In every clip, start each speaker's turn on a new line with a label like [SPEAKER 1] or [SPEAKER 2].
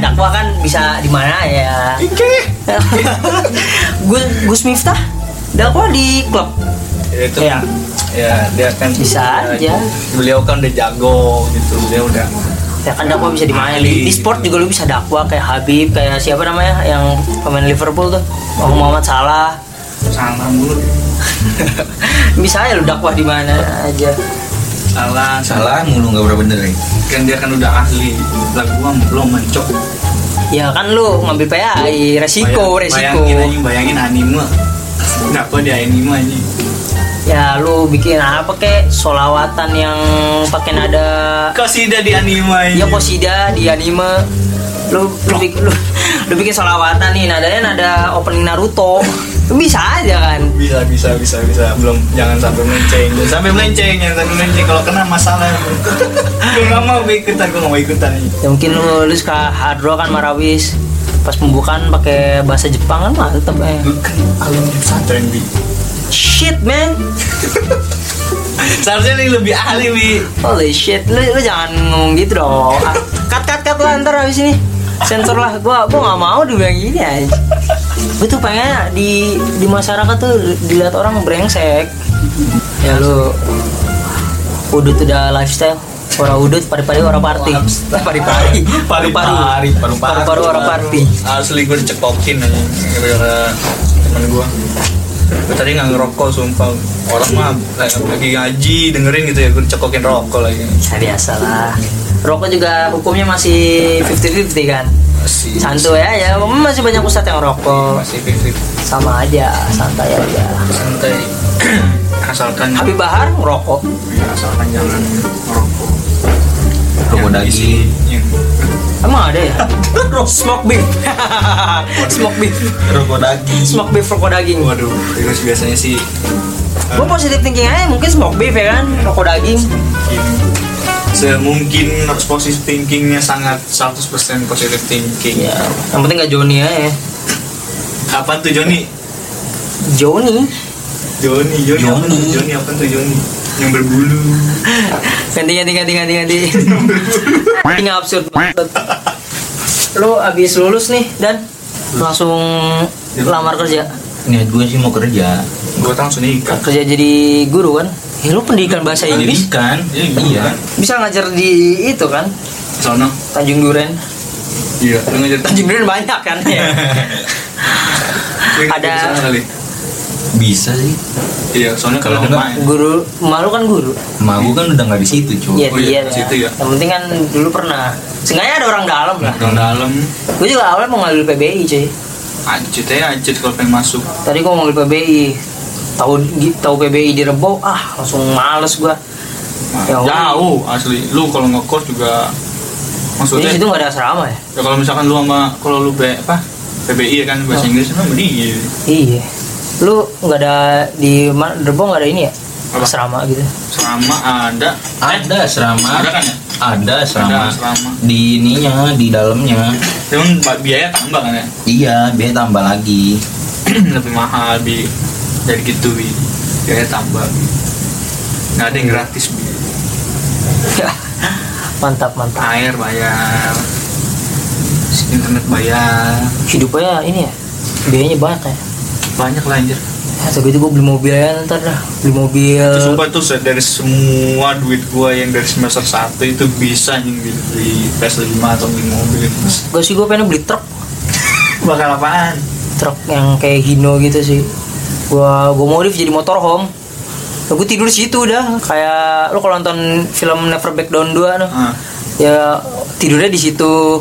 [SPEAKER 1] dakwah kan bisa di mana ya
[SPEAKER 2] Oke.
[SPEAKER 1] Gus Gus Miftah dakwah di klub
[SPEAKER 2] itu
[SPEAKER 1] Iya.
[SPEAKER 2] ya dia kan
[SPEAKER 1] Bisa aja.
[SPEAKER 2] beliau kan udah jago gitu dia udah
[SPEAKER 1] ya kan dakwah bisa di mana di, di sport juga lu bisa dakwah kayak Habib kayak siapa namanya yang pemain Liverpool tuh
[SPEAKER 2] Oh.
[SPEAKER 1] Om Muhammad Salah
[SPEAKER 2] salah mulu
[SPEAKER 1] bisa ya lu dakwah di mana aja
[SPEAKER 2] salah salah
[SPEAKER 3] salah mulu nggak pernah bener eh. nih
[SPEAKER 2] kan dia kan udah ahli lah gua belum mencok
[SPEAKER 1] ya kan lu ngambil PAI resiko
[SPEAKER 2] Bayang-
[SPEAKER 1] resiko
[SPEAKER 2] bayangin aja bayangin anime Kenapa dia anime aja
[SPEAKER 1] ya lu bikin apa kek solawatan yang pakai nada
[SPEAKER 2] Kosida di anime aja
[SPEAKER 1] ya posida di anime lu lu, bik- lu, lu bikin solawatan nih nadanya nada opening Naruto Lu bisa aja kan
[SPEAKER 2] bisa bisa bisa bisa belum jangan sampai melenceng jangan sampai melenceng jangan sampai melenceng kalau kena masalah gue gak mau gue ikutan gue gak mau ikutan ini
[SPEAKER 1] ya mungkin lu lu suka hard rock kan marawis pas pembukaan pakai bahasa Jepang kan mantep eh
[SPEAKER 2] Lu kan alumni pesantren bi
[SPEAKER 1] shit man
[SPEAKER 2] seharusnya ini lebih ahli bi
[SPEAKER 1] holy shit lu, lu jangan ngomong gitu dong Ah, cut cut cut lah ntar habis ini sensor lah gua gua nggak mau dibilang gini aja gua tuh pengen di di masyarakat tuh dilihat orang brengsek ya lu udut udah lifestyle Orang udut, pari-pari orang party Pari-pari Paru-paru Paru-paru orang party
[SPEAKER 2] asli gue dicekokin Ah, aja gara-gara temen gue gue tadi nggak ngerokok sumpah orang mah lagi lagi ngaji dengerin gitu ya gue dicekokin rokok lagi
[SPEAKER 1] Ya biasa lah Rokok juga hukumnya masih 50-50 kan
[SPEAKER 2] masih
[SPEAKER 1] Santuy ya, ya masih banyak ustadz yang rokok
[SPEAKER 2] masih fifty
[SPEAKER 1] Sama aja, santai aja
[SPEAKER 2] santai asalkan
[SPEAKER 1] Habib Bahar ngerokok
[SPEAKER 2] asalkan jangan ngerokok
[SPEAKER 3] Rokok
[SPEAKER 2] Yang
[SPEAKER 3] daging.
[SPEAKER 2] isi- yang
[SPEAKER 1] Emang ada ya? Smoke beef Smoke beef
[SPEAKER 3] rokok daging
[SPEAKER 1] Smoke beef rokok daging
[SPEAKER 2] waduh terus biasanya sih
[SPEAKER 1] Gue positif thinking aja, mungkin smoke beef ya kan Rokok daging
[SPEAKER 2] gini. semungkin harus positive thinkingnya sangat 100% positive thinking
[SPEAKER 3] Iya.
[SPEAKER 1] Ya, yang penting gak Joni aja ya
[SPEAKER 2] kapan tuh Joni
[SPEAKER 1] Joni?
[SPEAKER 2] Joni Joni apa
[SPEAKER 3] Joni.
[SPEAKER 2] tuh Joni apa tuh Joni yang berbulu
[SPEAKER 1] Ganti, ganti, ganti, ganti, ganti Ini nggak absurd banget Lu abis lulus nih, Dan Langsung lamar kerja
[SPEAKER 3] niat gue sih mau kerja
[SPEAKER 2] gue langsung nikah
[SPEAKER 1] kerja jadi guru kan ya lu pendidikan bahasa Inggris
[SPEAKER 3] pendidikan
[SPEAKER 2] Iya,
[SPEAKER 3] iya
[SPEAKER 2] kan?
[SPEAKER 1] bisa ngajar di itu kan
[SPEAKER 2] sono
[SPEAKER 1] Tanjung Duren
[SPEAKER 2] iya lu ngajar
[SPEAKER 1] Tanjung Duren banyak kan ya
[SPEAKER 2] Lu ngajar
[SPEAKER 1] Ada-
[SPEAKER 2] Iya. di sana kali
[SPEAKER 3] bisa sih
[SPEAKER 2] iya soalnya kalau ada
[SPEAKER 3] Kalau enggak,
[SPEAKER 2] main
[SPEAKER 1] guru malu kan guru
[SPEAKER 3] emak gue kan udah nggak di situ cuy
[SPEAKER 1] Iya
[SPEAKER 2] Oh iya,
[SPEAKER 1] dia
[SPEAKER 2] di
[SPEAKER 1] ya.
[SPEAKER 2] situ ya.
[SPEAKER 1] yang penting kan dulu pernah seenggaknya ada orang dalam
[SPEAKER 3] uh.
[SPEAKER 1] lah
[SPEAKER 2] orang dalam
[SPEAKER 1] gue juga awalnya mau ngambil PBI cuy
[SPEAKER 2] anjir ya anjir kalau pengen masuk
[SPEAKER 1] tadi gue mau ngambil PBI tahu tahu PBI di Rebo ah langsung males gue Ya,
[SPEAKER 2] jauh asli lu kalau ngekos juga
[SPEAKER 1] jadi
[SPEAKER 2] maksudnya
[SPEAKER 3] Iya,
[SPEAKER 1] situ nggak ada asrama ya
[SPEAKER 2] Ya kalau misalkan lu sama kalau lu B, apa PBI ya kan bahasa
[SPEAKER 3] Oh.
[SPEAKER 2] Inggris emang mending
[SPEAKER 1] iya lu nggak ada di mana Rebo nggak ada ini ya
[SPEAKER 2] Apa?
[SPEAKER 1] asrama gitu
[SPEAKER 2] selama ada
[SPEAKER 3] ada asrama
[SPEAKER 2] ada kan ya
[SPEAKER 3] ada
[SPEAKER 2] ada
[SPEAKER 3] asrama
[SPEAKER 2] selama
[SPEAKER 3] di ininya di dalamnya
[SPEAKER 2] cuman ba- biaya tambah kan ya
[SPEAKER 3] iya biaya tambah lagi
[SPEAKER 2] lebih mahal bi jadi gitu bi biaya tambah bi. nggak ada yang gratis bi
[SPEAKER 1] mantap mantap
[SPEAKER 2] air bayar internet bayar
[SPEAKER 1] hidupnya ini ya biayanya banyak ya
[SPEAKER 2] banyak lah anjir
[SPEAKER 1] ya tapi itu gue beli mobil ya ntar dah beli mobil
[SPEAKER 2] itu sumpah tuh se- dari semua duit gua yang dari semester 1 itu bisa anjing beli, beli PS5 atau beli mobil
[SPEAKER 1] gak sih gue pengen beli truk
[SPEAKER 2] bakal apaan
[SPEAKER 1] truk yang kayak Hino gitu sih gua gua modif jadi motorhome ya, gue tidur di situ udah kayak lu kalau nonton film Never Back Down 2 noh.
[SPEAKER 2] ah.
[SPEAKER 1] ya tidurnya di situ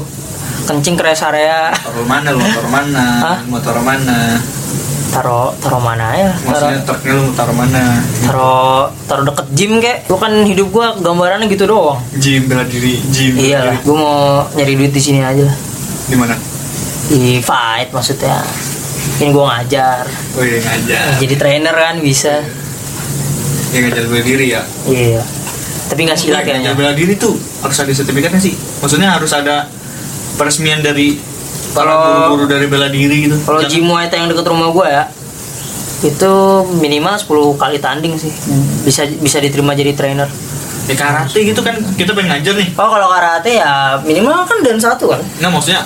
[SPEAKER 1] kencing ke rest area
[SPEAKER 2] motor mana lu motor mana
[SPEAKER 1] Hah?
[SPEAKER 2] motor mana
[SPEAKER 1] taro taro mana ya taro
[SPEAKER 2] maksudnya truknya lu motor mana
[SPEAKER 1] taro taro deket gym kek lu kan hidup gua gambarannya gitu doang
[SPEAKER 2] gym bela diri gym bela
[SPEAKER 1] iya lah
[SPEAKER 2] diri.
[SPEAKER 1] gue mau nyari duit di sini aja lah
[SPEAKER 2] di mana
[SPEAKER 1] di fight maksudnya ini gue ngajar
[SPEAKER 2] oh iya ngajar
[SPEAKER 1] jadi trainer kan bisa
[SPEAKER 2] iya ngajar bela diri ya
[SPEAKER 1] iya Tapi nggak silat
[SPEAKER 2] Nggak,
[SPEAKER 1] kayaknya.
[SPEAKER 2] nggak bela diri tuh harus ada sertifikatnya sih. Maksudnya harus ada peresmian dari para
[SPEAKER 1] Kalau-
[SPEAKER 2] guru-guru dari bela diri gitu.
[SPEAKER 1] Kalau
[SPEAKER 2] Jangan-
[SPEAKER 1] gym Muay Thai yang deket rumah gue ya, itu minimal 10 kali tanding sih. Bisa bisa diterima jadi trainer.
[SPEAKER 2] di karate gitu kan kita pengen ngajar nih.
[SPEAKER 1] Oh kalau karate ya minimal kan dan satu kan.
[SPEAKER 2] Nggak maksudnya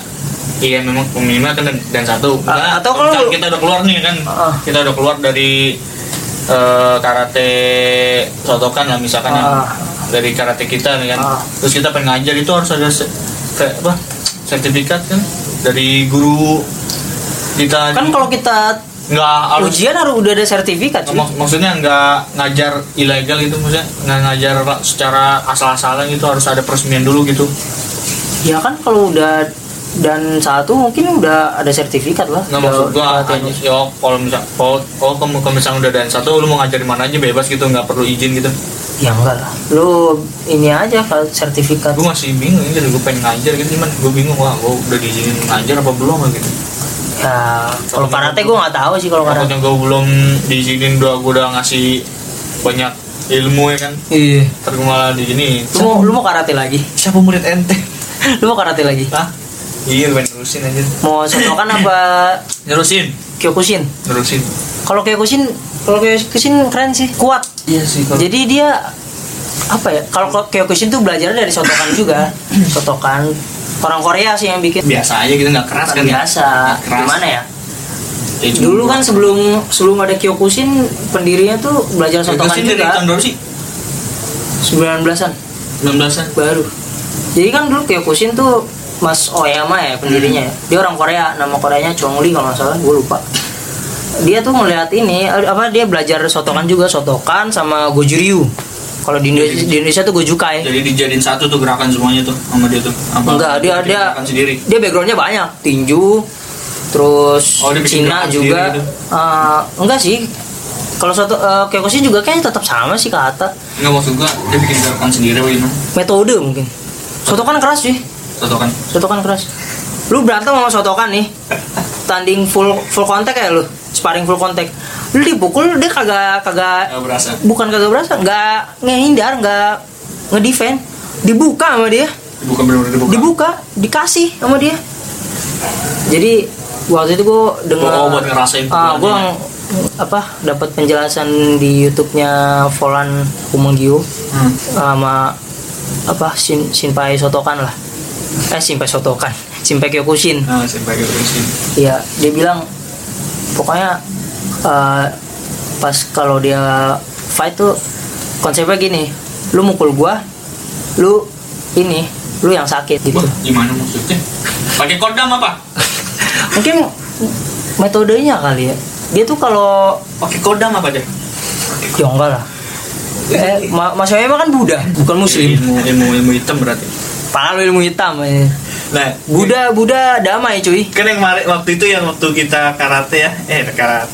[SPEAKER 2] Iya memang minimal kan dan, dan satu.
[SPEAKER 1] Ah,
[SPEAKER 2] Nggak,
[SPEAKER 1] atau kalau-
[SPEAKER 2] misalkan kita udah keluar nih kan,
[SPEAKER 1] Ah.
[SPEAKER 2] kita udah keluar dari eh, karate sotokan lah misalkan yang
[SPEAKER 1] Ah.
[SPEAKER 2] dari karate kita nih
[SPEAKER 1] Ah.
[SPEAKER 2] kan. Terus kita pengen ngajar itu harus ada se- kayak apa? sertifikat kan dari guru kita
[SPEAKER 1] Kan kalau kita
[SPEAKER 2] nggak harus
[SPEAKER 1] ujian harus udah ada sertifikat. cuy.
[SPEAKER 2] Mak- maksudnya nggak ngajar ilegal itu maksudnya nggak ngajar secara asal-asalan itu harus ada peresmian dulu gitu
[SPEAKER 1] Ya kan kalau udah dan satu mungkin udah ada sertifikat lah. Udah-
[SPEAKER 2] nggak Nah, maksud gua
[SPEAKER 1] udah latihan.
[SPEAKER 2] aja- yo kalau misal kalau kalau kamu kalau misalnya udah dan satu lu mau ngajar di mana aja bebas gitu nggak perlu izin gitu
[SPEAKER 1] Ya enggak lah. Lu ini aja kalau sertifikat.
[SPEAKER 2] gua masih bingung ini jadi gua pengen ngajar gitu cuman gua bingung wah gua udah diizinin ngajar apa belum gitu
[SPEAKER 1] Ya kalau karate gue nggak tahu sih kalau karate.
[SPEAKER 2] takutnya gua belum diizinin udah gua udah ngasih banyak ilmu ya kan
[SPEAKER 1] Iya.
[SPEAKER 2] terus gua malah di sini
[SPEAKER 1] Lu mau, lu mau karate lagi?
[SPEAKER 2] siapa murid ente
[SPEAKER 1] Lu mau karate lagi?
[SPEAKER 2] Hah? iya pengen nerusin aja
[SPEAKER 1] Mau sotokan apa
[SPEAKER 2] nerusin
[SPEAKER 1] Kyokushin?
[SPEAKER 2] nerusin
[SPEAKER 1] Kalau Kyokushin, kalau Kyokushin keren sih, kuat.
[SPEAKER 2] iya sih
[SPEAKER 1] Jadi dia apa ya? Kalau Kyokushin tuh belajar dari sotokan juga. sotokan orang Korea sih yang bikin.
[SPEAKER 2] biasa aja gitu nggak keras kan
[SPEAKER 1] Bukan
[SPEAKER 2] ya?
[SPEAKER 1] biasa.
[SPEAKER 2] Nggak keras.
[SPEAKER 1] Gimana ya?
[SPEAKER 2] Ya, cuma-
[SPEAKER 1] Dulu kan sebelum sebelum ada Kyokushin, pendirinya tuh belajar
[SPEAKER 2] Itu
[SPEAKER 1] sotokan
[SPEAKER 2] sih dari
[SPEAKER 1] juga.
[SPEAKER 2] tahun berapa sih
[SPEAKER 1] 19-an
[SPEAKER 2] 19-an
[SPEAKER 1] baru. Jadi kan dulu Kyokushin tuh Mas Oyama ya pendirinya.
[SPEAKER 2] Hmm.
[SPEAKER 1] ya. Dia orang Korea, nama Koreanya Chongli kalau nggak salah, gue lupa. Dia tuh ngelihat ini eh, apa dia belajar sotokan juga, sotokan sama gojuryu. Kalau di Indonesia, di Indonesia tuh gojukai.
[SPEAKER 2] Eh. jadi dijadiin satu tuh gerakan semuanya tuh sama dia tuh apa
[SPEAKER 1] Enggak, dia
[SPEAKER 2] bikin
[SPEAKER 1] dia
[SPEAKER 2] gerakan sendiri
[SPEAKER 1] Dia backgroundnya banyak, tinju, terus
[SPEAKER 2] Oh, dia bikin
[SPEAKER 1] Cina
[SPEAKER 2] gerakan
[SPEAKER 1] juga.
[SPEAKER 2] sendiri gitu.
[SPEAKER 1] Eh, enggak sih. Kalau suatu eh, Kyokushin juga kayaknya tetap sama sih kata
[SPEAKER 2] nggak maksud gua dia bikin gerakan sendiri gitu
[SPEAKER 1] metode mungkin. Sotokan keras sih.
[SPEAKER 2] atau kan
[SPEAKER 1] Sotokan keras. Lu berantem sama sotokan nih. Tanding full full kontak ya lu. Sparring full kontak. Lu dipukul dia kagak kagak
[SPEAKER 2] nggak berasa
[SPEAKER 1] bukan kagak berasa, nggak ngehindar, nggak ngedefend. Dibuka sama dia.
[SPEAKER 2] dibuka bener-bener dibuka
[SPEAKER 1] Dibuka, dikasih sama dia. Jadi waktu itu gue dengar
[SPEAKER 2] Oh, buat ngerasain
[SPEAKER 1] Ah, gue
[SPEAKER 2] pukulannya.
[SPEAKER 1] apa dapat penjelasan di YouTube-nya Volan Kumenggiu
[SPEAKER 2] Hmm.
[SPEAKER 1] sama apa Shin, Shinpai Sotokan lah eh Shinpai Sotokan Shinpai Kyokushin
[SPEAKER 2] nah sampai gitu sih
[SPEAKER 1] ya dia bilang pokoknya eh, pas kalau dia fight tuh konsepnya gini lu mukul gua lu ini lu yang sakit gitu
[SPEAKER 2] wah gimana maksudnya pakai kodam apa
[SPEAKER 1] mungkin metodenya kali ya dia tuh kalau
[SPEAKER 2] pakai kodam apa deh
[SPEAKER 1] ya enggak lah eh, ma Mas Yoyo kan Buddha bukan Muslim
[SPEAKER 2] ilmu ilmu ilmu hitam berarti
[SPEAKER 1] Pala lu ilmu hitam eh.
[SPEAKER 2] nah
[SPEAKER 1] Buddha Buddha damai cuy
[SPEAKER 2] kan yang kemarin- waktu itu yang waktu kita karate ya eh karate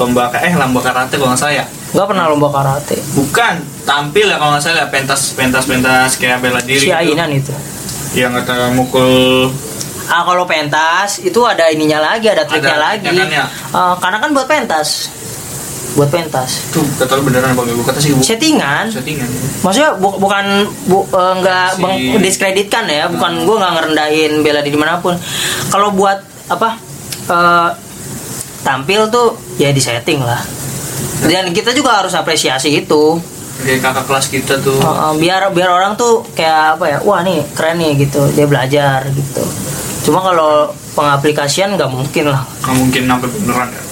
[SPEAKER 2] lomba eh lomba karate kalau nggak salah ya
[SPEAKER 1] nggak pernah lomba karate
[SPEAKER 2] bukan tampil ya kalau nggak salah pentas pentas pentas kayak bela
[SPEAKER 1] si
[SPEAKER 2] diri gitu.
[SPEAKER 1] Ainan itu
[SPEAKER 2] yang kata Ya, mukul
[SPEAKER 1] Ah kalau pentas itu ada ininya lagi, ada triknya
[SPEAKER 2] Ada
[SPEAKER 1] lagi.
[SPEAKER 2] triknya kan, ya?
[SPEAKER 1] Eh, karena kan buat pentas. Buat pentas.
[SPEAKER 2] tuh kata lu beneran apa gue kata sih bu
[SPEAKER 1] Settingan.
[SPEAKER 2] settingan
[SPEAKER 1] Maksudnya bu- bukan bu, eh, nggak
[SPEAKER 2] Si- Hmm.
[SPEAKER 1] meng- diskreditkan ya, bukan gua nggak ngerendahin bela diri manapun. Kalau buat apa eh, tampil tuh ya disetting lah. Dan kita juga harus apresiasi itu.
[SPEAKER 2] kayak kakak kelas kita tuh
[SPEAKER 1] Eh, eh, biar biar orang tuh kayak apa ya wah nih keren nih gitu dia belajar gitu cuma kalau pengaplikasian nggak mungkin lah
[SPEAKER 2] nggak mungkin sampai beneran ya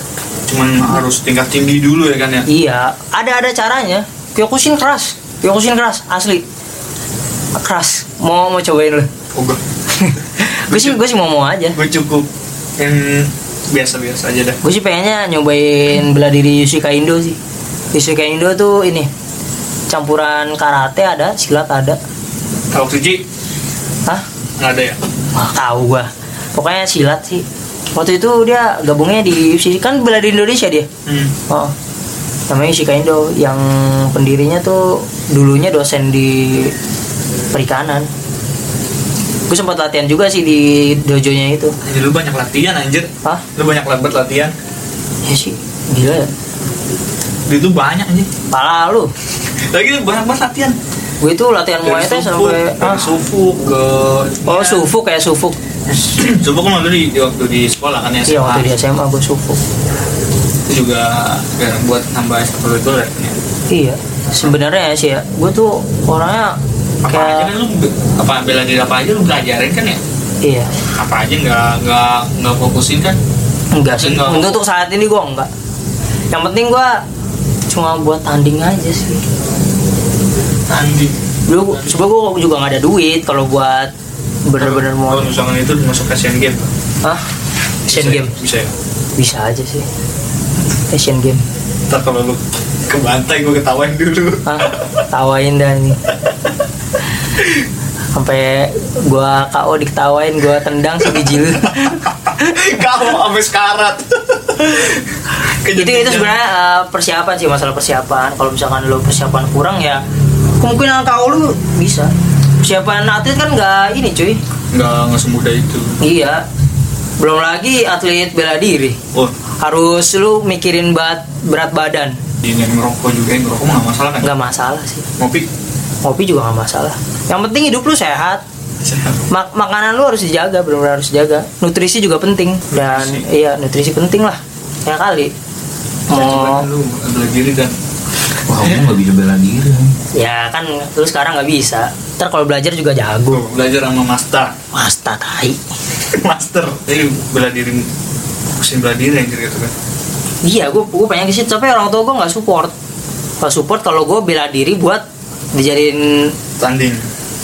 [SPEAKER 2] cuman harus tingkat tinggi dulu ya kan ya
[SPEAKER 1] Iya, ada ada caranya. Kyokushin keras, Kyokushin keras asli. Keras. Mau mau cobain lu.
[SPEAKER 2] oh, gue
[SPEAKER 1] gue sih gue sih mau mau aja.
[SPEAKER 2] cukup yang biasa biasa aja dah
[SPEAKER 1] Gue sih pengennya nyobain bela diri Yusuka Indo sih. Yusuka Indo tuh ini campuran karate ada, silat ada.
[SPEAKER 2] kalau Nah, Ji
[SPEAKER 1] Hah?
[SPEAKER 2] nggak ada ya
[SPEAKER 1] Wah, tahu gua. Pokoknya silat sih. Waktu itu dia gabungnya di UFC kan bela diri Indonesia dia.
[SPEAKER 2] hmm.
[SPEAKER 1] Oh, namanya Shika Indo yang pendirinya tuh dulunya dosen di perikanan. Gue sempat latihan juga sih di dojonya itu.
[SPEAKER 2] Anjir, lu banyak latihan anjir
[SPEAKER 1] Hah?
[SPEAKER 2] lu banyak lebat latihan
[SPEAKER 1] Ya sih, gila ya.
[SPEAKER 2] itu banyak anjir
[SPEAKER 1] Pala lu.
[SPEAKER 2] lagi lu banyak banget latihan
[SPEAKER 1] gue itu latihan muay
[SPEAKER 2] Dari
[SPEAKER 1] thai
[SPEAKER 2] sufuk,
[SPEAKER 1] sampai Ah.
[SPEAKER 2] dari sufuk ke
[SPEAKER 1] oh sufuk kayak sufuk
[SPEAKER 2] sufuk kan waktu di waktu di sekolah kan ya
[SPEAKER 1] iya
[SPEAKER 2] SMA.
[SPEAKER 1] waktu di SMA gue sufuk
[SPEAKER 2] itu juga ya, buat nambah ekstrakurikuler ya.
[SPEAKER 1] iya sebenarnya ya sih ya gue tuh orangnya
[SPEAKER 2] apa aja
[SPEAKER 1] kayak
[SPEAKER 2] kan lu be- apa bela diri apa aja lu belajarin kan ya
[SPEAKER 1] iya
[SPEAKER 2] apa aja nggak nggak nggak fokusin kan
[SPEAKER 1] enggak sih
[SPEAKER 2] Enggak.
[SPEAKER 1] untuk untuk saat ini gue enggak yang penting gue cuma buat tanding aja sih
[SPEAKER 2] tanding
[SPEAKER 1] dulu sebenernya gue juga nggak ada duit kalau buat bener-bener mau
[SPEAKER 2] kalau misalkan itu masuk Asian Games
[SPEAKER 1] ah Asian Game
[SPEAKER 2] bisa ya
[SPEAKER 1] bisa aja sih Asian Game
[SPEAKER 2] ntar kalau lu ke Bantai gue ketawain dulu
[SPEAKER 1] ah tawain dah ini sampai gua KO diketawain gua tendang sebiji lu
[SPEAKER 2] kamu sampai sekarat
[SPEAKER 1] itu itu sebenarnya eh, persiapan sih masalah persiapan kalau misalkan lo persiapan kurang ya kemungkinan KO lu bisa persiapan atlet kan nggak ini cuy
[SPEAKER 2] nggak nggak semudah itu
[SPEAKER 1] iya belum lagi atlet bela diri
[SPEAKER 2] oh
[SPEAKER 1] harus lu mikirin berat berat badan
[SPEAKER 2] ini yang ngerokok juga yang ngerokok mah nggak masalah kan
[SPEAKER 1] nggak masalah sih
[SPEAKER 2] ngopi
[SPEAKER 1] ngopi juga nggak masalah yang penting hidup lu sehat Mak- makanan lu harus dijaga benar-benar harus dijaga nutrisi juga penting dan
[SPEAKER 2] Nutrisi.
[SPEAKER 1] iya nutrisi penting lah ya kali
[SPEAKER 2] Oh.
[SPEAKER 1] mau
[SPEAKER 2] lu bela diri dan
[SPEAKER 3] Wah, gue nggak bisa bela diri.
[SPEAKER 1] ya kan lu sekarang nggak bisa ntar kalau belajar juga jago
[SPEAKER 2] Tuh, belajar sama master
[SPEAKER 1] Asta tai
[SPEAKER 2] master jadi bela diri pusing bela diri yang gitu kan
[SPEAKER 1] iya gue gue pengen ke situ tapi orang tua gue nggak support nggak support kalau gue bela diri buat dijadiin
[SPEAKER 2] tanding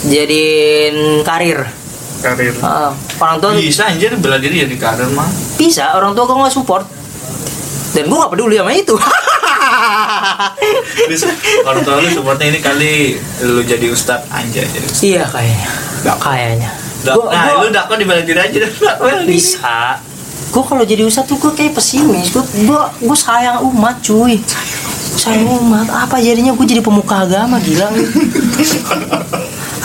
[SPEAKER 1] jadiin karir
[SPEAKER 2] karir
[SPEAKER 1] Ah, orang tua
[SPEAKER 2] bisa anjir bela diri jadi karir mah
[SPEAKER 1] bisa orang tua gue nggak support dan gue nggak peduli sama itu
[SPEAKER 2] Terus, kalau tau lu supportnya ini kali lu jadi ustad anjay jadi ustad.
[SPEAKER 1] iya kayaknya
[SPEAKER 2] Dak-
[SPEAKER 1] kayaknya
[SPEAKER 2] Dak-
[SPEAKER 1] Gua-
[SPEAKER 2] nah
[SPEAKER 1] gua-
[SPEAKER 2] lu dakwa di bela diri aja dah Dak, bela diri.
[SPEAKER 1] bisa gue kalau jadi ustadz tuh gue kayak pesimis gue gue gue sayang umat cuy sayang umat apa jadinya gue jadi pemuka agama gila lu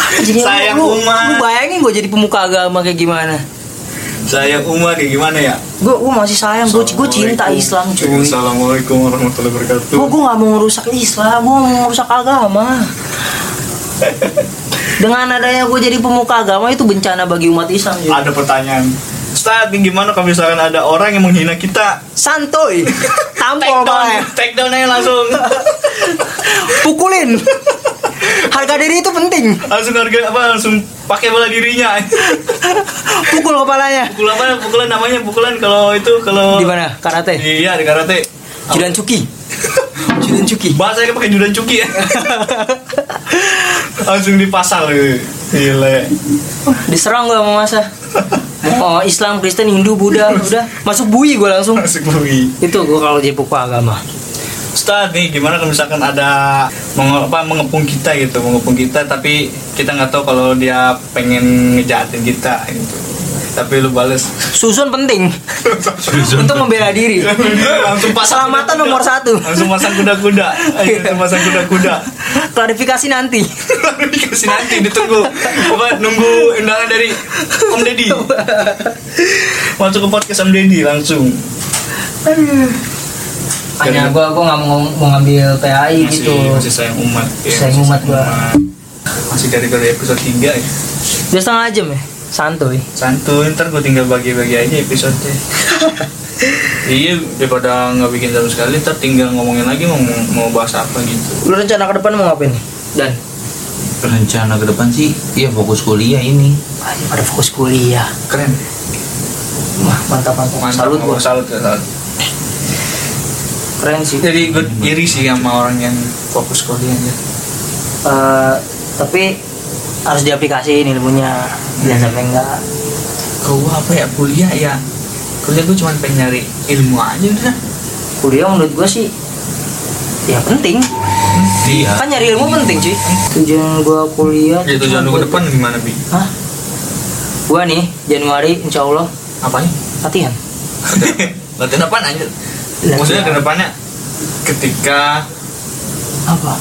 [SPEAKER 1] apa jadinya lu-
[SPEAKER 2] Sayang
[SPEAKER 1] lu,
[SPEAKER 2] umat.
[SPEAKER 1] lu bayangin gue jadi pemuka agama kayak gimana
[SPEAKER 2] saya Umar kayak gimana ya
[SPEAKER 1] gue gue masih sayang gue gue cinta Islam
[SPEAKER 2] Gitu.
[SPEAKER 1] cuy
[SPEAKER 2] Assalamualaikum warahmatullahi wabarakatuh
[SPEAKER 1] gue gue nggak mau ngerusak Islam gue mau ngerusak agama dengan adanya gue jadi pemuka agama itu bencana bagi umat Islam cuy.
[SPEAKER 2] ada pertanyaan Ustaz, ini gimana kalau misalkan ada orang yang menghina kita? Oh,
[SPEAKER 1] santuy tampol malah
[SPEAKER 2] take down aja langsung.
[SPEAKER 1] pukulin harga diri itu penting
[SPEAKER 2] langsung harga apa? Langsung pakai bola dirinya.
[SPEAKER 1] pukul kepalanya
[SPEAKER 2] Pukul apa? Pukulan namanya pukulan kalau itu kalau
[SPEAKER 1] di mana karate
[SPEAKER 2] Iya di karate.
[SPEAKER 1] judan cuki judan cuki
[SPEAKER 2] Bahasanya pakai judan cuki ya. langsung dipasang gitu. Gile.
[SPEAKER 1] diserang gue sama masa oh Islam Kristen Hindu Buddha udah masuk bui gue langsung
[SPEAKER 2] Masuk bumi.
[SPEAKER 1] itu gue kalau jadi pukul agama
[SPEAKER 2] Ustaz nih gimana kalau misalkan ada menge- apa, mengepung kita gitu, mengepung kita tapi kita nggak tahu kalau dia pengen ngejahatin kita gitu. Tapi lu bales
[SPEAKER 1] susun penting untuk membela diri
[SPEAKER 2] langsung pasang
[SPEAKER 1] Keselamatan
[SPEAKER 2] kuda-kuda.
[SPEAKER 1] nomor satu.
[SPEAKER 2] langsung pasang kuda-kuda Ayo, langsung pasang kuda-kuda
[SPEAKER 1] klarifikasi nanti
[SPEAKER 2] dikasih nanti ditunggu apa nunggu undangan dari Om Deddy masuk ke podcast Om Deddy langsung
[SPEAKER 1] hanya gue gue nggak mau ngom- mau ngambil PAI
[SPEAKER 2] masih
[SPEAKER 1] gitu
[SPEAKER 2] masih sayang umat ya.
[SPEAKER 1] Sayang
[SPEAKER 2] Masih
[SPEAKER 1] umat gua.
[SPEAKER 2] masih gara-gara episode 3 ya
[SPEAKER 1] udah setengah jam ya santuy
[SPEAKER 2] santuy ntar gue tinggal bagi-bagi aja episodenya iya daripada nggak bikin sama sekali ntar tinggal ngomongin lagi mau mau bahas apa
[SPEAKER 1] lu
[SPEAKER 2] gitu
[SPEAKER 1] rencana ke depan mau ngapain nih dan
[SPEAKER 3] Rencana ke depan sih, ya fokus kuliah ini.
[SPEAKER 1] ada fokus kuliah
[SPEAKER 2] keren
[SPEAKER 1] Wah, mantap mantap. Salut bos.
[SPEAKER 2] gua salut ya, salut
[SPEAKER 1] Keren sih.
[SPEAKER 3] Iya.
[SPEAKER 2] jadi gue iri sih sama orang yang fokus kuliah aja
[SPEAKER 1] Eh, tapi harus diaplikasiin ilmunya. Jangan
[SPEAKER 3] Iya.
[SPEAKER 1] sampai enggak.
[SPEAKER 2] gue apa ya kuliah ya kuliah gue cuma pengen nyari ilmu aja udah
[SPEAKER 1] Kuliah menurut gua sih ya penting.
[SPEAKER 3] Iya.
[SPEAKER 1] Kan nyari ilmu penting cuy. Tujuan gua kuliah.
[SPEAKER 2] ya tujuan lu ke depan gimana bi
[SPEAKER 1] Hah? Gua nih Januari Insya Allah
[SPEAKER 2] apanya
[SPEAKER 1] latihan.
[SPEAKER 2] latihan apaan anjir
[SPEAKER 3] Iya.
[SPEAKER 2] maksudnya ke depannya ketika
[SPEAKER 1] apa?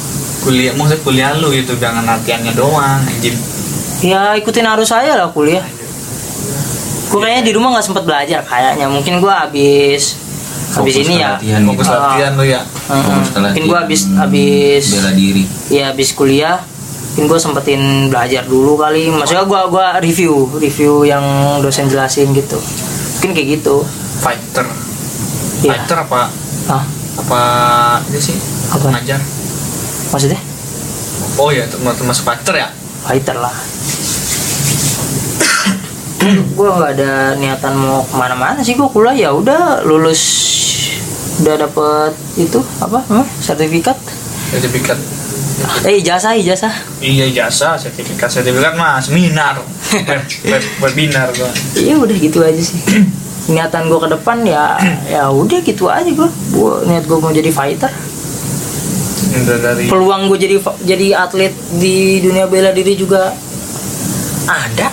[SPEAKER 2] kuliah maksudnya kuliah lu gitu jangan latihannya doang anjir
[SPEAKER 1] Ya ikutin arus saya lah kuliah. Gue kayaknya di rumah nggak sempet belajar kayaknya. Mungkin gua habis habis
[SPEAKER 3] Fokus
[SPEAKER 1] ini
[SPEAKER 3] ke
[SPEAKER 1] ya.
[SPEAKER 3] latihan gitu.
[SPEAKER 2] fokus
[SPEAKER 1] Ah.
[SPEAKER 2] latihan lu ya
[SPEAKER 1] Heeh.
[SPEAKER 3] Fokus ke
[SPEAKER 1] Mungkin gua
[SPEAKER 3] latihan
[SPEAKER 1] habis habis
[SPEAKER 3] bela diri.
[SPEAKER 1] ya habis kuliah mungkin gue sempetin belajar dulu kali maksudnya gue gua review review yang dosen jelasin gitu mungkin kayak gitu
[SPEAKER 2] fighter
[SPEAKER 1] Iya.
[SPEAKER 2] fighter apa
[SPEAKER 1] ah
[SPEAKER 2] apa ini sih
[SPEAKER 1] Apa?
[SPEAKER 2] ngajar
[SPEAKER 1] maksudnya
[SPEAKER 2] oh ya termasuk fighter ya
[SPEAKER 1] fighter lah gue nggak ada niatan mau kemana-mana sih gue kuliah ya udah lulus udah dapet itu apa namanya? sertifikat
[SPEAKER 2] sertifikat
[SPEAKER 1] eh ijazah ijazah
[SPEAKER 2] iya jasa sertifikat sertifikat mah seminar Web- web- webinar gua.
[SPEAKER 1] ya udah gitu aja sih niatan gue ke depan ya ya udah gitu aja gue gue niat gue mau jadi fighter
[SPEAKER 2] Udah dari
[SPEAKER 1] peluang gue jadi fa- jadi atlet di dunia bela diri juga ada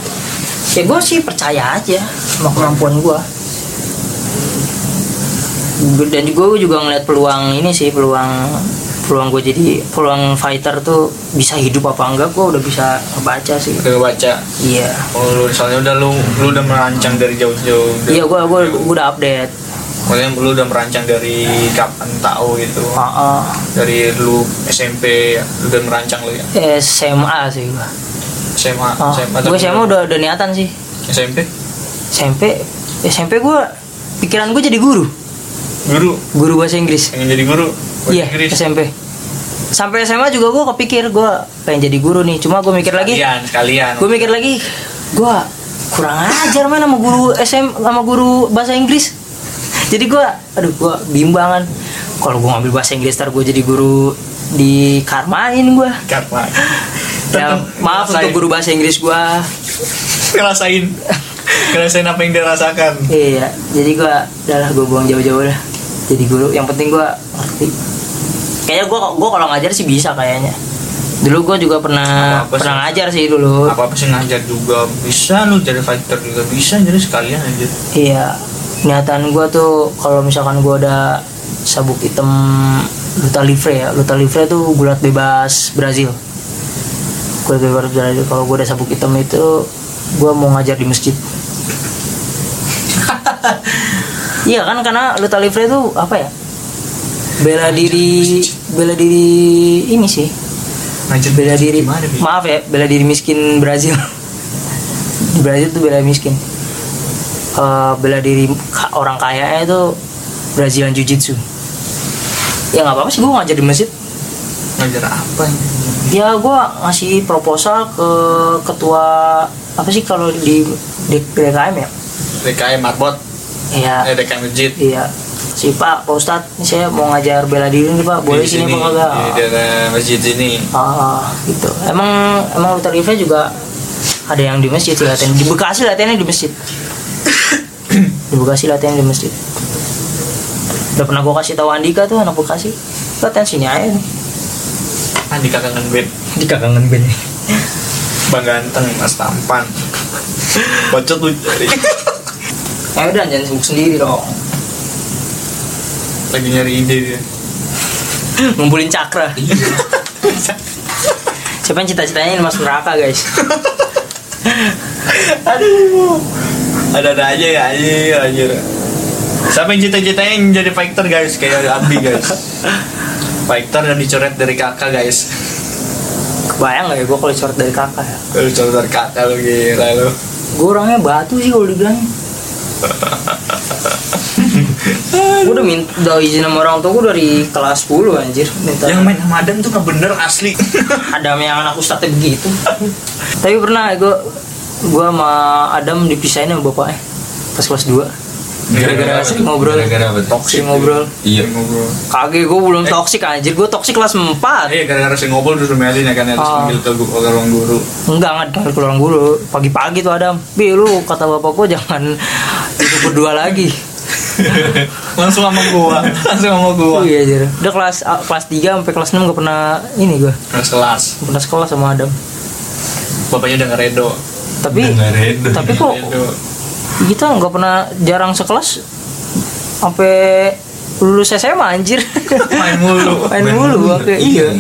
[SPEAKER 1] ya gue sih percaya aja sama kemampuan gue dan gue juga ngeliat peluang ini sih peluang peluang gue jadi peluang fighter tuh bisa hidup apa enggak gue udah bisa baca sih
[SPEAKER 2] udah baca
[SPEAKER 1] iya
[SPEAKER 2] Oh, lu soalnya udah lu lu udah merancang dari jauh-jauh. dari-
[SPEAKER 1] iya gue gue udah update
[SPEAKER 2] Maksudnya lu udah merancang dari kapan tahu gitu.
[SPEAKER 1] Heeh.
[SPEAKER 2] Dari lu SMP ya, lu udah merancang lu ya.
[SPEAKER 1] Eh, SMA sih gue
[SPEAKER 2] SMA,
[SPEAKER 1] Ah.
[SPEAKER 2] SMA.
[SPEAKER 1] gue SMA udah udah niatan sih
[SPEAKER 2] SMP.
[SPEAKER 1] SMP SMP gue pikiran gue jadi guru
[SPEAKER 2] Guru,
[SPEAKER 1] guru bahasa Inggris
[SPEAKER 2] pengen jadi guru. Bahasa
[SPEAKER 1] Iya,
[SPEAKER 2] Oh, Inggris.
[SPEAKER 1] SMP. Sampai SMA juga gue kepikir gue pengen jadi guru nih. Cuma gue mikir lagi,
[SPEAKER 2] Sekalian, sekalian.
[SPEAKER 1] gue mikir lagi, gue kurang ajar main sama guru SM sama guru bahasa Inggris. Jadi gue, aduh gue bimbangan. Kalau gue ngambil bahasa Inggris ntar gue jadi guru di karmain gue.
[SPEAKER 2] Karena
[SPEAKER 1] Ya, maaf untuk guru bahasa Inggris gue.
[SPEAKER 2] ngerasain ngerasain apa yang dia rasakan.
[SPEAKER 1] Iya, jadi gue, udahlah gue buang jauh-jauh lah. Jadi guru, yang penting gue ngerti. Kayaknya gue gue kalau ngajar sih bisa kayaknya. Dulu gue juga pernah
[SPEAKER 2] Apa-apa sih?
[SPEAKER 1] pernah ngajar sih dulu.
[SPEAKER 2] Apa apa sih ngajar juga bisa lu jadi fighter juga bisa jadi sekalian aja.
[SPEAKER 1] Iya, niatan gua tuh kalau misalkan gua ada sabuk hitam Luta Livre ya, Luta Livre tuh gulat bebas Brazil. Gulat bebas Brazil. Kalau gua ada sabuk hitam itu, gua mau ngajar di masjid. iya kan karena Luta Livre tuh apa ya? Bela diri, bela diri ini sih,
[SPEAKER 2] Ngajar
[SPEAKER 1] bela diri.
[SPEAKER 2] gimana, Bi?
[SPEAKER 1] Maaf ya, bela diri miskin Brazil. Di Brazil tuh bela miskin. Eh, bela diri ka- orang kaya itu Brazilian Jiu-Jitsu. Ya nggak apa-apa sih gue ngajar di masjid.
[SPEAKER 2] Ngajar apa? ini?
[SPEAKER 1] Ya gua ngasih proposal ke ketua apa sih kalau di di DKM ya?
[SPEAKER 2] DKM Marbot,
[SPEAKER 1] Iya.
[SPEAKER 2] eh DKM Masjid.
[SPEAKER 1] Iya. Si Pak, Pak Ustadz, ini saya mau ngajar bela diri nih Pak, boleh
[SPEAKER 2] Di
[SPEAKER 1] sini Pak kagak?
[SPEAKER 2] Di daerah masjid ini.
[SPEAKER 1] Ah, gitu. Emang emang Luther Livre juga ada yang di masjid sih latihan. Di Bekasi latihannya di masjid. di Bekasi latihan di masjid. Udah pernah gua kasih tahu Andika tuh anak Bekasi. Latihan sini aja nih.
[SPEAKER 2] Ah, di kakangan band.
[SPEAKER 1] Di kagangan ben.
[SPEAKER 2] Bang Ganteng, Mas Tampan. Bacot lu.
[SPEAKER 1] Ya udah jangan sibuk sendiri dong.
[SPEAKER 2] Lagi nyari ide dia.
[SPEAKER 1] Ngumpulin cakra. Siapa yang cita-citanya ini masuk neraka, guys?
[SPEAKER 2] Aduh. Ada-ada aja ya, anjir, anjir. Siapa yang cita-citanya yang jadi fighter guys? Kayak Abi guys. Fighter dan dicoret dari kakak guys.
[SPEAKER 1] Kebayang gak ya gua kalau dicoret dari kakak ya?
[SPEAKER 2] Lu coret dari kakak lu gila lu.
[SPEAKER 1] Gue orangnya batu sih kalau dibilang. gue udah minta udah izin sama orang tua gue dari kelas 10 anjir minta
[SPEAKER 2] Yang main sama Adam tuh nggak bener asli.
[SPEAKER 1] Adam yang anak ustadz begitu tapi pernah gue gue sama Adam dipisahin sama bapaknya pas kelas 2 Gara-gara
[SPEAKER 3] apa
[SPEAKER 1] sering
[SPEAKER 3] tuh?
[SPEAKER 1] ngobrol.
[SPEAKER 3] Gara-gara apa? tuh?
[SPEAKER 1] Sering ngobrol
[SPEAKER 3] Iya. Eh.
[SPEAKER 2] ngobrol.
[SPEAKER 1] kage gue belum toksik anjir gue toksik kelas 4
[SPEAKER 2] Iya, gara-gara si ngobrol terus melin ya kan harus
[SPEAKER 1] Ah.
[SPEAKER 2] panggil ke gu- ke ruang guru.
[SPEAKER 1] enggak enggak dengar keluar guru pagi-pagi tuh Adam bi lu kata bapak gue jangan itu berdua lagi
[SPEAKER 2] langsung sama gua langsung sama gua
[SPEAKER 1] iya anjir udah kelas kelas 3 sampai kelas 6 gak pernah ini gue
[SPEAKER 2] terus kelas
[SPEAKER 1] pernah sekolah sama Adam
[SPEAKER 2] bapaknya udah ngeredo
[SPEAKER 1] tapi
[SPEAKER 3] Nggak redo.
[SPEAKER 1] tapi kok
[SPEAKER 2] Ngeredo.
[SPEAKER 1] kita nggak pernah jarang sekelas sampai lulus SMA anjir
[SPEAKER 2] main mulu
[SPEAKER 1] main mulu oke iya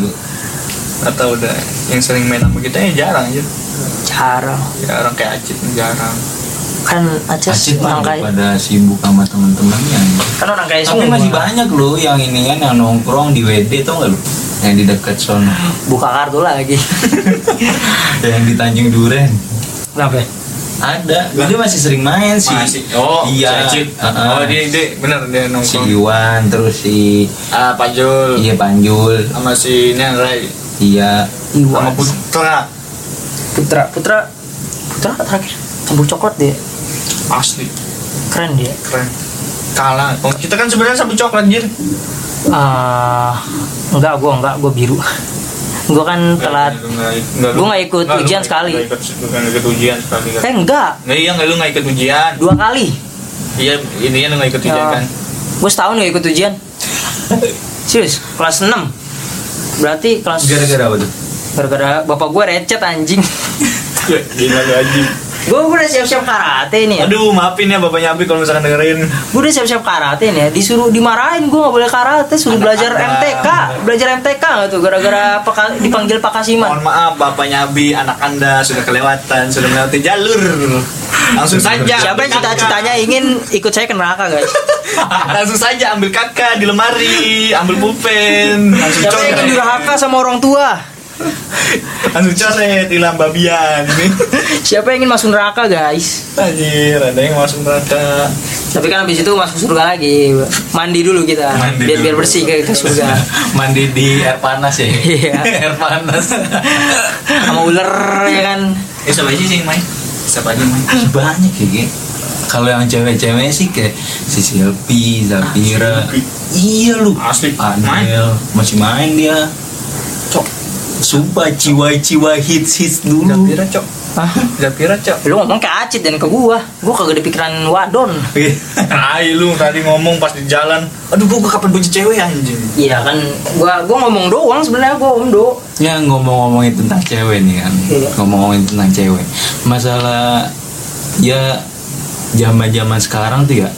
[SPEAKER 2] atau udah yang sering main sama kita ya jarang aja
[SPEAKER 1] jarang
[SPEAKER 2] jarang kayak acit jarang
[SPEAKER 1] kan Aces
[SPEAKER 3] Acit
[SPEAKER 1] orang
[SPEAKER 3] mah
[SPEAKER 1] kaya
[SPEAKER 3] pada sibuk sama temen-temennya.
[SPEAKER 1] kan orang kaya
[SPEAKER 3] Tapi
[SPEAKER 1] semua
[SPEAKER 3] masih banyak loh yang ini kan yang nongkrong di WD tau gak lu? yang di dekat sana
[SPEAKER 1] buka kartu lagi
[SPEAKER 3] yang di Tanjung Duren
[SPEAKER 1] kenapa ya?
[SPEAKER 3] ada dia masih sering main sih
[SPEAKER 2] Masih. Oh,
[SPEAKER 3] iya
[SPEAKER 2] si Acip.
[SPEAKER 1] Ah,
[SPEAKER 2] Oh,
[SPEAKER 3] Heeh.
[SPEAKER 2] dia, dia benar dia
[SPEAKER 3] si
[SPEAKER 2] nongkrong.
[SPEAKER 3] Iwan terus si
[SPEAKER 2] Ah, Panjul.
[SPEAKER 3] iya Panjul
[SPEAKER 2] Sama si Nenrai.
[SPEAKER 3] iya
[SPEAKER 2] Sama
[SPEAKER 1] Iwan
[SPEAKER 2] Putra.
[SPEAKER 1] Putra Putra Putra terakhir campur coklat dia
[SPEAKER 2] Asli,
[SPEAKER 1] keren dia
[SPEAKER 2] keren. Kalah. Oh, kita kan sebenarnya sabu coklat, Jir.
[SPEAKER 1] ah enggak gue enggak gue biru gue kan telat Gua nggak ikut ujian sekali.
[SPEAKER 2] Enggak ikut, nggak ikut ujian sekali kan.
[SPEAKER 1] eh enggak
[SPEAKER 2] Nggak, iya nggak lu nggak ikut ujian.
[SPEAKER 1] dua kali
[SPEAKER 2] Iya, intinya lu nggak ikut ujian
[SPEAKER 1] Ya.
[SPEAKER 2] kan.
[SPEAKER 1] gue setahun gak ikut ujian serius kelas 6 berarti kelas
[SPEAKER 3] gara-gara apa tuh
[SPEAKER 1] gara-gara bapak gue recet anjing
[SPEAKER 2] Gila lu anjing.
[SPEAKER 1] gue udah siap-siap karate nih ya.
[SPEAKER 2] Aduh, maafin ya bapaknya Abi kalau misalkan dengerin.
[SPEAKER 1] gue udah siap-siap karate nih ya. disuruh dimarahin gue nggak boleh karate suruh belajar
[SPEAKER 2] Anak-anak.
[SPEAKER 1] MTK belajar MTK nggak tuh gara-gara peka- dipanggil Pak Kasiman
[SPEAKER 2] Mohon maaf bapaknya Abi, anak Anda sudah kelewatan, sudah melewati jalur. Langsung saja.
[SPEAKER 1] siapa yang
[SPEAKER 2] ambil
[SPEAKER 1] cita-citanya ingin ikut saya ke neraka guys
[SPEAKER 2] kakak. Langsung saja ambil kakak di lemari, ambil pulpen, langsung
[SPEAKER 1] siapa yang ingin
[SPEAKER 2] coret.
[SPEAKER 1] durhaka sama orang tua
[SPEAKER 2] Langsung coret hilang babian.
[SPEAKER 1] siapa yang ingin masuk neraka guys
[SPEAKER 2] Anjir, ada yang masuk neraka.
[SPEAKER 1] tapi kan habis itu masuk surga lagi mandi dulu kita
[SPEAKER 3] Mandi
[SPEAKER 1] biar
[SPEAKER 3] dulu.
[SPEAKER 1] biar bersih kayak kita surga
[SPEAKER 3] mandi di air panas ya
[SPEAKER 1] Iya.
[SPEAKER 3] air panas
[SPEAKER 1] sama ular ya kan
[SPEAKER 2] Eh, siapa aja sih yang main? Siapa aja yang main?
[SPEAKER 3] banyak ya Ge. kalau yang cewek-cewek sih kayak si Silvi, Zafira
[SPEAKER 2] Silvi.
[SPEAKER 3] iya lu
[SPEAKER 2] Asli, ah, main.
[SPEAKER 3] Adel Iya, masih main dia
[SPEAKER 2] Cok.
[SPEAKER 3] Sumpah ciwa-ciwa hits-hits dulu
[SPEAKER 2] Japira, Cok.
[SPEAKER 1] Hah?
[SPEAKER 2] Japira, Cok.
[SPEAKER 1] lu ngomong ke Acit dan ke gua gua kagak ada pikiran wadon
[SPEAKER 2] Tai lu tadi ngomong pas di jalan. Aduh, gua, gua kapan punya cewek anjing?
[SPEAKER 1] iya kan gua gua ngomong doang sebenarnya gua ondo
[SPEAKER 3] Ya ngomong-ngomongin tentang cewek nih kan
[SPEAKER 1] Iya.
[SPEAKER 3] Ngomong-ngomongin tentang cewek Masalah Ya zaman-zaman sekarang tuh ya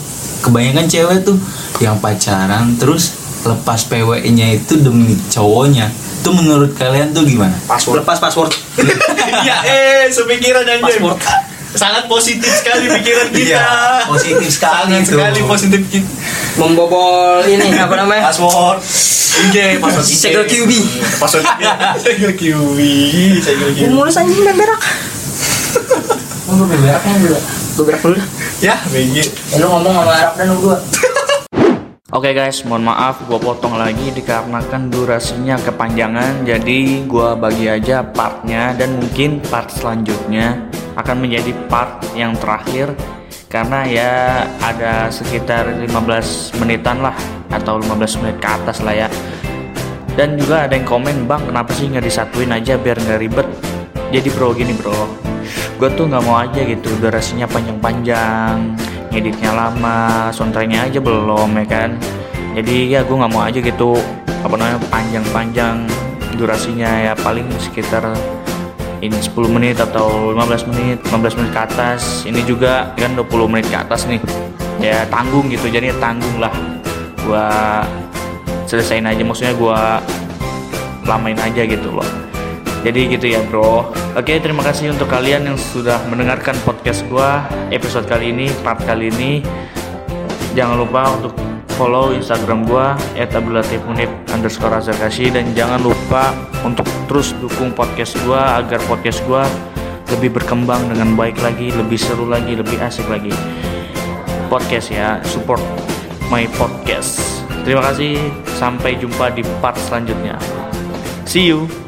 [SPEAKER 3] Kebanyakan cewek tuh Yang pacaran terus Lepas PWE-nya itu demi cowoknya Itu menurut kalian tuh gimana?
[SPEAKER 2] Password.
[SPEAKER 1] lepas password
[SPEAKER 2] Iya, eh, sepemikiran anjing.
[SPEAKER 1] Password.
[SPEAKER 2] Sangat positif sekali pikiran kita.
[SPEAKER 3] Iya, positif sekali
[SPEAKER 2] Sangat
[SPEAKER 3] tuh.
[SPEAKER 2] sekali positif kita.
[SPEAKER 1] membobol ini apa namanya
[SPEAKER 2] Password. IG, password IG.
[SPEAKER 1] Segel QB.
[SPEAKER 2] Password IG. Segel QB, segel QB.
[SPEAKER 1] mulus anjing dan berak
[SPEAKER 3] Lu berak
[SPEAKER 1] gua berak dulu dah.
[SPEAKER 2] Ya, begini.
[SPEAKER 1] ya, lu ngomong sama Arab dan lu gua
[SPEAKER 4] Oke guys, mohon maaf gue potong lagi dikarenakan durasinya kepanjangan Jadi gue bagi aja partnya dan mungkin part selanjutnya akan menjadi part yang terakhir Karena ya ada sekitar 15 menitan lah atau 15 menit ke atas lah ya Dan juga ada yang komen, bang kenapa sih nggak disatuin aja biar nggak ribet Jadi bro gini bro, gue tuh nggak mau aja gitu durasinya panjang-panjang ngeditnya lama soundtracknya aja belum ya kan jadi ya gue nggak mau aja gitu apa namanya panjang-panjang durasinya ya paling sekitar ini 10 menit atau 15 menit 15 menit ke atas ini juga kan 20 menit ke atas nih ya tanggung gitu jadi tanggung lah gue selesain aja maksudnya gue lamain aja gitu loh. Jadi gitu ya bro. Oke terima kasih untuk kalian yang sudah mendengarkan podcast gua episode kali ini part kali ini. Jangan lupa untuk follow Instagram gua @abdulatifmunib underscore azarkasi dan jangan lupa untuk terus dukung podcast gua agar podcast gua lebih berkembang dengan baik lagi, lebih seru lagi, lebih asik lagi. Podcast ya, support my podcast. Terima kasih, sampai jumpa di part selanjutnya. See you.